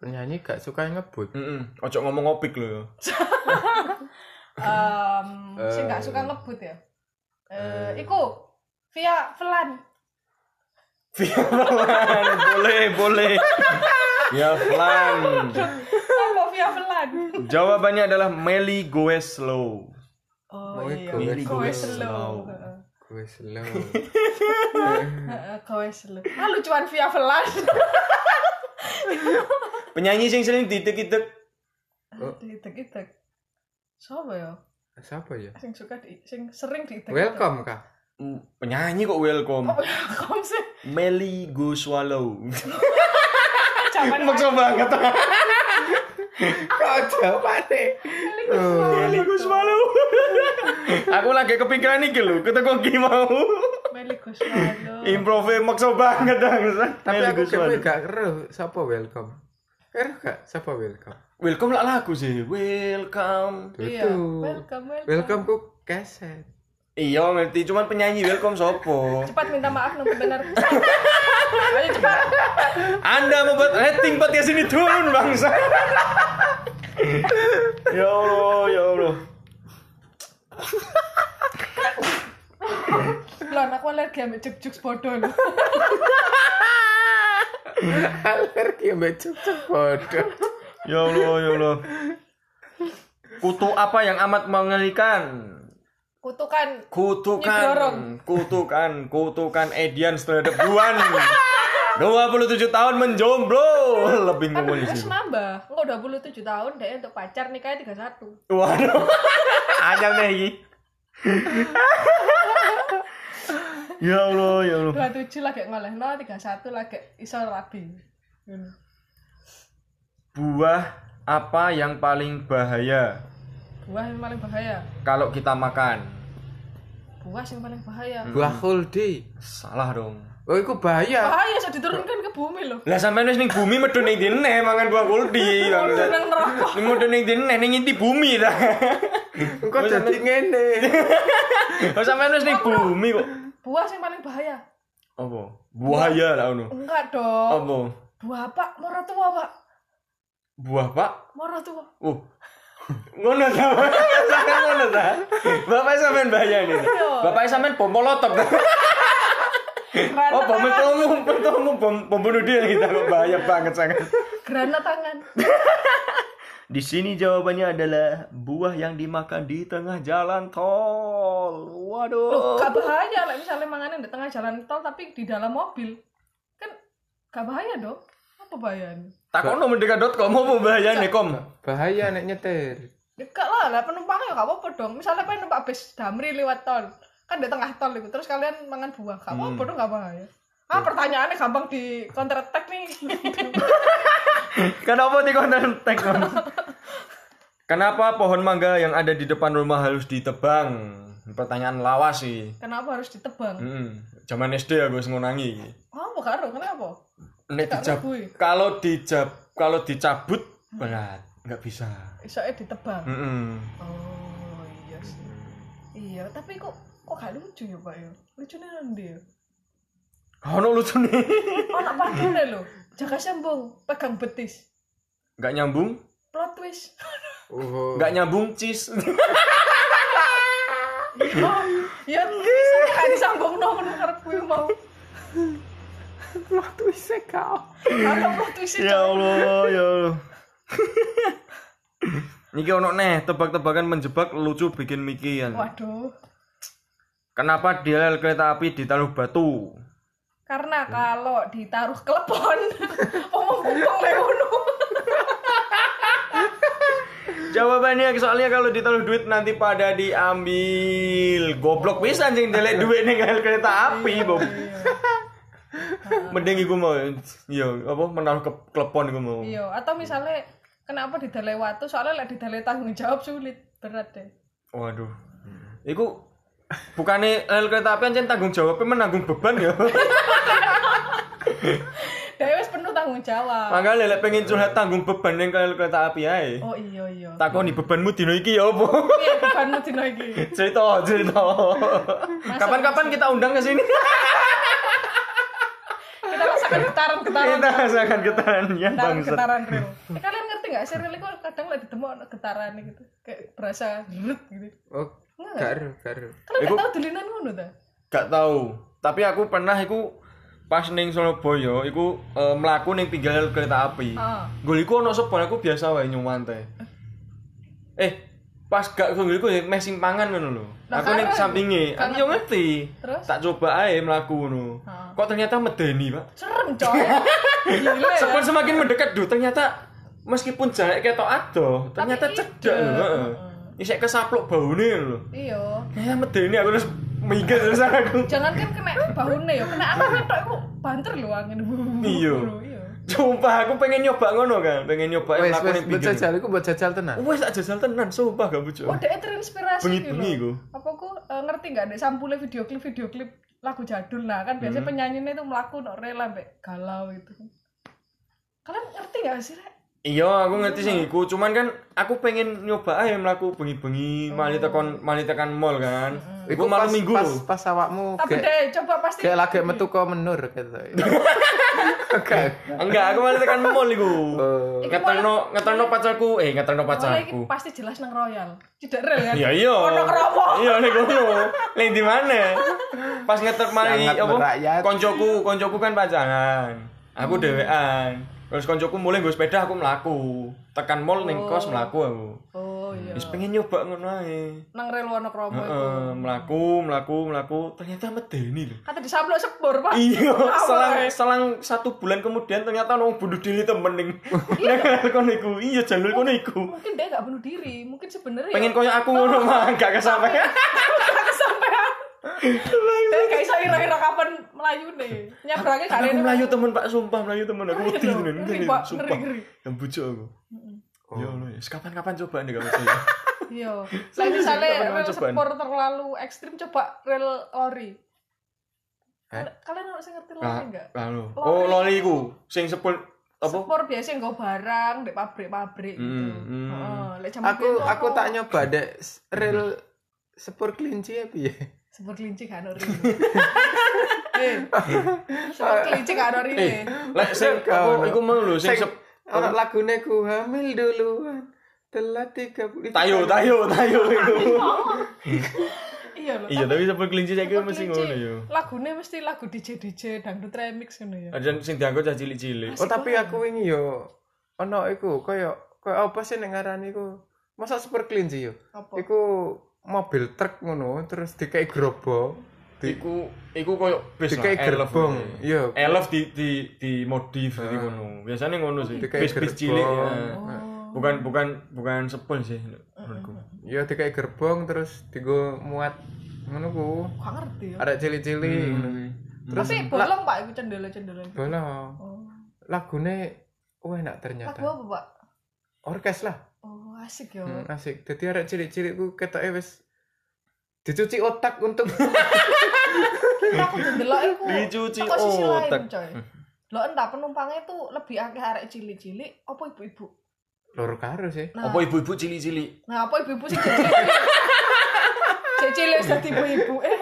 Speaker 3: Penyanyi gak suka ngebut.
Speaker 1: Mm-mm. Ojo ngomong opik loh.
Speaker 2: um, sih nggak suka ngebut ya eh iku via Velan
Speaker 1: Via Vlan, boleh, boleh. Ya, Via Vlan.
Speaker 2: sama via Velan
Speaker 1: Jawabannya adalah Meli Goeslow.
Speaker 2: oh
Speaker 3: Mau
Speaker 2: iya
Speaker 3: ikut.
Speaker 2: Gomez
Speaker 1: Gomez
Speaker 2: slow
Speaker 1: slow.
Speaker 3: Gue slow.
Speaker 2: Gomez slow ah lucuan via Velan
Speaker 1: Penyanyi sing sering ditek-ditek.
Speaker 2: diitek itek siapa ya
Speaker 3: Siapa ya?
Speaker 2: sing suka di sing sering diitek
Speaker 3: Welcome kah?
Speaker 1: Mm, Penyanyi kok welcome.
Speaker 2: welcome sih
Speaker 1: Meli Goeslow.
Speaker 2: Jangan
Speaker 1: Kan Maksa banget.
Speaker 3: Kok jawabane?
Speaker 2: Oh,
Speaker 1: Meli Goeslow. Gitu. Aku lagi kepikiran iki lho, ketemu ki mau.
Speaker 2: Meli Guswalo.
Speaker 1: Improve maksa banget bangsa.
Speaker 3: Tapi
Speaker 1: Meli
Speaker 3: aku
Speaker 1: Goeslow.
Speaker 3: kepe gak keruh Siapa welcome? Keruh gak? Siapa welcome?
Speaker 1: Welcome lah lagu sih. Welcome.
Speaker 2: Iya.
Speaker 3: Tutu.
Speaker 2: Welcome, welcome.
Speaker 3: Welcome ku keset.
Speaker 1: Iya ngerti, cuman penyanyi welcome sopo.
Speaker 2: Cepat minta maaf nang benar. Ayo cepat.
Speaker 1: Anda membuat rating podcast ini turun bangsa. ya Allah, ya Allah.
Speaker 2: Lon aku alergi ambek juk-juk bodoh lho.
Speaker 3: Alergi mbak cucuk bodoh.
Speaker 1: Ya Allah, ya Allah. Kutu apa yang amat mengerikan?
Speaker 2: Kutukan
Speaker 1: Kutukan,
Speaker 2: Nidorong.
Speaker 1: kutukan, kutukan Edian terhadap Buan. 27 tahun menjomblo lebih
Speaker 2: kan
Speaker 1: ngomong di sini.
Speaker 2: wis nambah. Engko 27 tahun deh untuk pacar nikahnya 31.
Speaker 1: Waduh. Anyang nih iki. ya Allah, ya Allah.
Speaker 2: 27 lagi ngolehno, 31 lagi iso rabi. Ngono.
Speaker 1: Buah apa yang paling bahaya
Speaker 2: Buah yang paling bahaya.
Speaker 1: kalau kita makan?
Speaker 2: buah yang paling bahaya
Speaker 1: Hmm.
Speaker 3: Buah kuldi.
Speaker 1: Salah dong.
Speaker 3: Oh, iku bahaya.
Speaker 2: bahaya so diturunkan ke bumi loh
Speaker 1: Lah sampean wis ning bumi medun ning dine mangan buah kuldi. bangsat.
Speaker 2: nang neraka
Speaker 1: Ning medun ning dine ning inti bumi ta.
Speaker 3: Engko jadi ngene.
Speaker 1: Lah sampean wis ning bumi kok.
Speaker 2: buah yang paling bahaya
Speaker 1: Apa? Buaya lah ono.
Speaker 2: enggak dong
Speaker 1: Apa?
Speaker 2: buah pak moro tua pak
Speaker 1: Buah, Pak.
Speaker 2: moro tua
Speaker 1: Uh. Ngono ta. Sampean ngono ta. Bapak sampean bayangin. Bapak sampean bom molotov ta.
Speaker 2: granat
Speaker 1: Oh, bom
Speaker 2: tangan
Speaker 1: ketemu, ketemu bom bom bunuh diri kita kok bahaya banget sangat.
Speaker 2: granat tangan
Speaker 1: Di sini jawabannya adalah buah yang dimakan di tengah jalan tol.
Speaker 2: Loh,
Speaker 1: Waduh.
Speaker 2: Oh, gak bahaya lah misalnya manganin di tengah jalan tol tapi di dalam mobil kan gak bahaya dong apa bahayanya
Speaker 1: Takono merdeka.com mau bahaya nih kom.
Speaker 3: Bahaya nek nyetir.
Speaker 2: dekat Ya, lah lah penumpangnya gak apa-apa dong misalnya pengen numpak bis damri lewat tol kan di tengah tol itu terus kalian mangan buah gak apa-apa dong gak bahaya ah pertanyaannya gampang di counter attack nih
Speaker 1: Kenapa di konten tag Kom? Kenapa pohon mangga yang ada di depan rumah harus ditebang? Pertanyaan lawas sih.
Speaker 2: kenapa harus ditebang
Speaker 1: Hmm. Zaman SD aku harus ngonangi.
Speaker 2: apa karo kenapa
Speaker 1: Nek
Speaker 2: Gak
Speaker 1: dijab
Speaker 2: ngebui.
Speaker 1: kalau dijab kalau dicabut berat, nggak bisa.
Speaker 2: isoke
Speaker 1: Hmm.
Speaker 2: ditebang
Speaker 1: Mm-mm.
Speaker 2: oh iya sih iya tapi kok kok gak lucu ya pak ya lucunya nanti ya
Speaker 1: Ono lucu nih.
Speaker 2: anak padahal lo jaga sambung pegang betis
Speaker 1: Nggak nyambung,
Speaker 2: plot twist
Speaker 3: Oh.
Speaker 1: nggak nyambung cis.
Speaker 2: oh, ya bisa gak disambung no menurut karepku mau
Speaker 3: Waktu isih kau.
Speaker 2: atau plot twist
Speaker 1: ya Allah, ya Allah. Niki ono neh tebak-tebakan menjebak lucu bikin mikian.
Speaker 2: waduh
Speaker 1: Kenapa dialel kereta api di Taruh Batu?
Speaker 2: karena kalau ditaruh ke lepon omong bungkong leono
Speaker 1: Jawabannya soalnya kalau ditaruh duit nanti pada diambil. Goblok pisan sing delek duit ning ngel kereta api, Bob. Mending iku mau yo apa menaruh ke klepon iku mau.
Speaker 2: iya atau misalnya kenapa didalai watu soalnya lek didalai tanggung jawab sulit berat deh
Speaker 1: Waduh. Iku bukannya rel kereta api ancen tanggung jawabnya menanggung beban ya.
Speaker 2: Dewi penuh tanggung jawab
Speaker 1: Mangga lelek pengen curhat tanggung beban yang rel kereta api ae.
Speaker 2: oh iya iya
Speaker 1: Takoni bebanmu dino iki ya apa?
Speaker 2: iya bukan dino iki
Speaker 1: cerita, cerita. Kapan-kapan kita undang ke sini.
Speaker 2: kita rasakan getaran getaran
Speaker 1: kita rasakan getarannya
Speaker 2: getaran
Speaker 1: bangsa.
Speaker 2: getaran real eh, kalian ngerti nggak sih real itu kadang lagi demo getaran gitu kayak berasa rut gitu
Speaker 3: Oh, garu, garu.
Speaker 2: kalian nggak tahu dulinan ngono ta
Speaker 1: Gak tahu. Tapi aku pernah iku pas ning Surabaya iku eh, mlaku ning pinggir kereta api.
Speaker 2: Ah.
Speaker 1: Gol iku ono sebon aku biasa wae nyuman teh. Eh, pas gak gol iku ya meh simpangan ngono lho.
Speaker 2: Lah,
Speaker 1: Aku ning
Speaker 2: karo.
Speaker 1: sampinge, aku yo ngerti.
Speaker 2: Terus?
Speaker 1: Tak coba ae mlaku ngono.
Speaker 2: Ah.
Speaker 1: Kok ternyata medeni, Pak.
Speaker 2: serem coy
Speaker 1: Iya.
Speaker 2: gila ya
Speaker 1: Sebon semakin mendekat duh ternyata meskipun jarak ketok adoh, ternyata
Speaker 2: Tapi
Speaker 1: cedak
Speaker 2: ide.
Speaker 1: lho, heeh. Isek kesaplok baune lho.
Speaker 2: iyo
Speaker 1: Ya medeni aku terus mikir terus aku.
Speaker 2: Iya. jangan kan kena bahunya ya kena aku ngetok aku banter lho angin
Speaker 1: Iya.
Speaker 2: iya
Speaker 1: Sumpah aku pengen nyoba ngono kan, pengen nyoba
Speaker 3: Wes,
Speaker 1: mlaku
Speaker 3: wes,
Speaker 1: ning
Speaker 3: mbok
Speaker 1: pinggir.
Speaker 3: jajal iku mbok jajal tenan.
Speaker 1: Wes tak jajal tenan, sumpah gak bojo.
Speaker 2: oh dia terinspirasi
Speaker 1: Bengi-bengi
Speaker 2: gitu
Speaker 1: iku.
Speaker 2: apa aku eh, ngerti nggak ada sampulnya video klip video klip lagu jadul nah kan biasanya
Speaker 1: Hmm.
Speaker 2: penyanyinya itu melaku no rela mbek galau gitu kalian ngerti nggak sih Rek?
Speaker 1: Iya, aku ngerti sing iku, cuman kan aku pengen nyoba ae mlaku bengi-bengi mali tekan mali tekan mall kan. Iku malam
Speaker 3: Oh. Hmm. pas-
Speaker 1: minggu
Speaker 3: pas,
Speaker 1: lho.
Speaker 3: pas awakmu
Speaker 2: tapi
Speaker 3: gek
Speaker 2: deh coba pasti
Speaker 3: gek lagi metu kok menur gitu. Oke.
Speaker 1: Enggak, aku mali tekan mall iku.
Speaker 3: Eh.
Speaker 1: Ngeterno ngeterno pacarku, eh ngeterno
Speaker 2: Oleh iki
Speaker 1: pacarku.
Speaker 2: pasti jelas nang royal tidak real kan
Speaker 1: Iya iya.
Speaker 2: ono kromo
Speaker 1: Iya nek ngono. Lek di mana? Pas ngeter mari
Speaker 3: Sangat merakyat. Hmm.
Speaker 1: apa? Koncoku, koncoku kan pacaran. Aku dhewean. Terus koncoku mulai nggo sepeda aku mlaku. Tekan mall ning kos mlaku aku.
Speaker 2: oh iya
Speaker 1: Wis pengen nyoba ngono ae.
Speaker 2: nang real ono kromo itu
Speaker 1: Heeh, mlaku, mlaku, mlaku. Ternyata medeni lho.
Speaker 2: kata disablok sepur pak
Speaker 1: Iya,
Speaker 2: Awal,
Speaker 1: selang
Speaker 2: eh.
Speaker 1: selang satu bulan kemudian ternyata nong bunuh diri temen ning nek kono iku. Iya jalur kono iku.
Speaker 2: mungkin dia gak bunuh diri mungkin sebenarnya ya.
Speaker 1: Pengen koyo aku ngono mah gak kesampaian.
Speaker 2: kesampean dia gak bisa ira-ira kapan melayu nih nyabrangnya gak
Speaker 1: aku
Speaker 2: ada yang-
Speaker 1: melayu temen pak sumpah melayu temen aku wedi
Speaker 2: Ngeri,
Speaker 1: nen
Speaker 2: ngeri,
Speaker 1: ngeri
Speaker 2: Pak.
Speaker 1: sumpah
Speaker 2: Ngeri, ngeri.
Speaker 1: yang bujuk aku
Speaker 3: Oh.
Speaker 2: Mm-mm.
Speaker 1: ya Allah ya kapan-kapan coba nih kamu saya
Speaker 2: Iya. Lah misalnya
Speaker 1: Tak pernah
Speaker 2: rel
Speaker 1: cobaan.
Speaker 2: sepur terlalu ekstrim coba rel lori.
Speaker 1: Eh?
Speaker 2: Kal- Kalian harus ngerti lori
Speaker 1: Nah,
Speaker 2: enggak?
Speaker 1: lalu.
Speaker 2: Lori.
Speaker 1: Oh, loli ku sing sepul apa?
Speaker 2: Sepur biasa yang barang di pabrik-pabrik gitu.
Speaker 1: Hmm, hmm.
Speaker 2: Heeh, lek jaman
Speaker 3: aku
Speaker 2: biyen
Speaker 3: aku
Speaker 2: apa?
Speaker 3: tak nyoba dek s- rel sepur kelinci ya piye
Speaker 2: Sepur kelinci gak ono rine. Eh. Sepur kelinci gak ono rine.
Speaker 1: Lek sing
Speaker 3: Kau,
Speaker 1: aku iku mau lho sing
Speaker 3: Sing-
Speaker 1: sep-
Speaker 3: Orang lagune ku hamil duluan telat tiga puluh
Speaker 1: tayo tayo tayo iku.
Speaker 2: Iya lho.
Speaker 1: Iya, tapi sepul kelinci saiki
Speaker 2: Sepur
Speaker 1: mesti
Speaker 2: kelinci,
Speaker 1: ngono yo.
Speaker 2: Lagune mesti lagu DJ DJ dangdut remix ngono ya.
Speaker 1: Ada sing dianggo cah cilik-cilik.
Speaker 3: oh tapi aku wingi yo ono iku koyo koyo apa sih nek ngarani iku masa sepur kelinci yo
Speaker 2: Apa?
Speaker 3: iku mobil truk ngono terus dikai grobo di
Speaker 1: Iku iku koyo bis
Speaker 3: dikai gerbong yo
Speaker 1: Elf di di di modif di ngono. Biasanya ngono sih.
Speaker 3: Dikai
Speaker 1: Bis bis cilik.
Speaker 3: gerbong.
Speaker 1: ya.
Speaker 2: Oh.
Speaker 1: Bukan bukan bukan sepul sih menurutku.
Speaker 3: yo dikai gerbong terus digo muat ngono ku
Speaker 2: Gak ngerti ya.
Speaker 3: arek cili-cili ngono kuwi. terus
Speaker 2: Tapi bolong Pak iku cendela-cendela.
Speaker 3: bolong
Speaker 2: Oh.
Speaker 3: lagune wah enak
Speaker 2: Lagu
Speaker 3: ternyata
Speaker 2: apa, Pak?
Speaker 3: orkes lah
Speaker 2: Oh, asik ya.
Speaker 3: hmm, asik jadi arek cilik-cilik ku ketoke wis dicuci otak untuk
Speaker 2: Kita aku jendelok iku.
Speaker 1: Dicuci
Speaker 2: teko sisi lain,
Speaker 1: otak.
Speaker 2: coy. Lo entah penumpangnya tuh lebih akeh arek cilik-cilik apa ibu-ibu?
Speaker 3: loro karo sih
Speaker 2: Nah.
Speaker 1: Apa ibu-ibu cilik-cilik?
Speaker 2: Nah, apa ibu-ibu sih cilik? Cilik sudah ibu-ibu. Eh.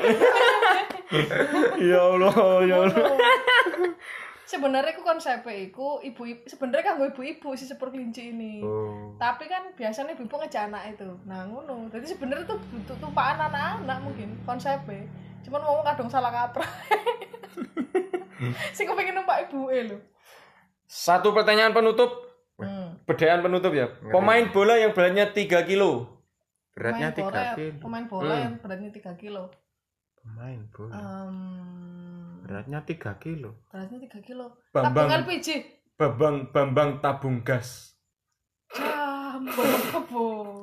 Speaker 1: ya Allah, ya Allah.
Speaker 2: Sebenarnya ku konsepnya iku ibu-ibu sebenarnya kanggo ibu-ibu sih sepur kelinci ini.
Speaker 1: Oh.
Speaker 2: Tapi kan biasanya ibu ngejar anak itu. Nah, ngono. Jadi sebenarnya tuh butuh tumpaan anak-anak mungkin konsepnya. Cuman ngomong kadung salah kaprah. Sing kepengin numpak ibuke lho.
Speaker 1: Satu pertanyaan penutup,
Speaker 2: Hmm.
Speaker 1: bedaan penutup ya. Pemain bola yang beratnya 3 kilo.
Speaker 3: beratnya tiga kilo
Speaker 2: Pemain bola- Pemain bola
Speaker 1: Hmm.
Speaker 2: yang beratnya 3 kilo.
Speaker 3: pemain
Speaker 2: Ah.
Speaker 3: bola
Speaker 2: Em,
Speaker 3: beratnya tiga kilo
Speaker 2: beratnya 3 kilo. Tabung
Speaker 1: Bambang
Speaker 2: LPG.
Speaker 1: Bambang Bambang tabung gas.
Speaker 2: Jambon kebong.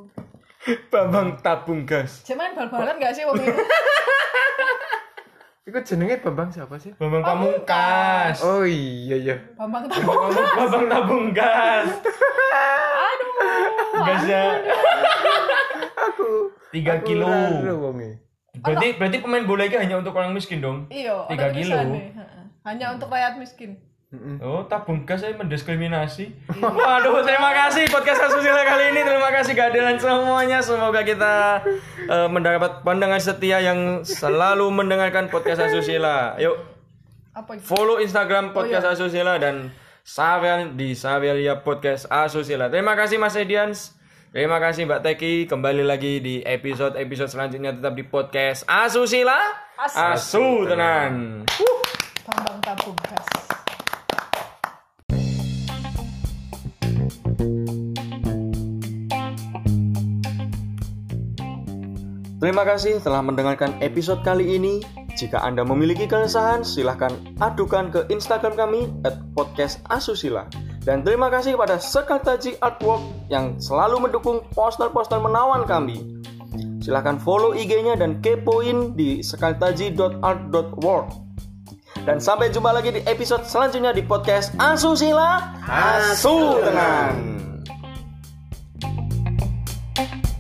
Speaker 1: Bambang tabung gas.
Speaker 2: Cek main bal-balan gak sih wong itu?
Speaker 3: itu jenenge bambang siapa sih
Speaker 1: Bambang pamungkas.
Speaker 3: oh iya iya
Speaker 2: Bambang tabung.
Speaker 1: Bambang tabung gas.
Speaker 2: Aduh.
Speaker 1: Gasnya
Speaker 3: aku
Speaker 1: 3 kilo.
Speaker 3: raro wonge.
Speaker 1: Berarti berarti pemain bola itu hanya untuk orang miskin dong.
Speaker 2: Iya, ada
Speaker 1: Tiga kilo.
Speaker 2: tulisannya. Heeh. Hanya untuk rakyat miskin.
Speaker 3: Mm-mm.
Speaker 1: Oh, tabung gas saya mendiskriminasi. Iya. Waduh, terima kasih podcast asusila kali ini. Terima kasih kehadiran semuanya. Semoga kita eh, mendapat pandangan setia yang selalu mendengarkan podcast asusila. Yuk,
Speaker 2: Apa itu?
Speaker 1: follow Instagram podcast asusila dan Savel di Savelia Podcast Asusila. Terima kasih Mas Edians. Terima kasih Mbak Teki. Kembali lagi di episode-episode selanjutnya tetap di podcast Asusila.
Speaker 2: As-
Speaker 1: Asu tenan.
Speaker 2: Bambang tabung gas.
Speaker 1: Terima kasih telah mendengarkan episode kali ini. Jika Anda memiliki keresahan, silahkan adukan ke Instagram kami at podcast asusila. Dan terima kasih kepada Sekartaji Artwork yang selalu mendukung poster-poster menawan kami. Silahkan follow IG-nya dan kepoin di sekartaji.art.work. Dan sampai jumpa lagi di episode selanjutnya di podcast Asusila Asu Tenan.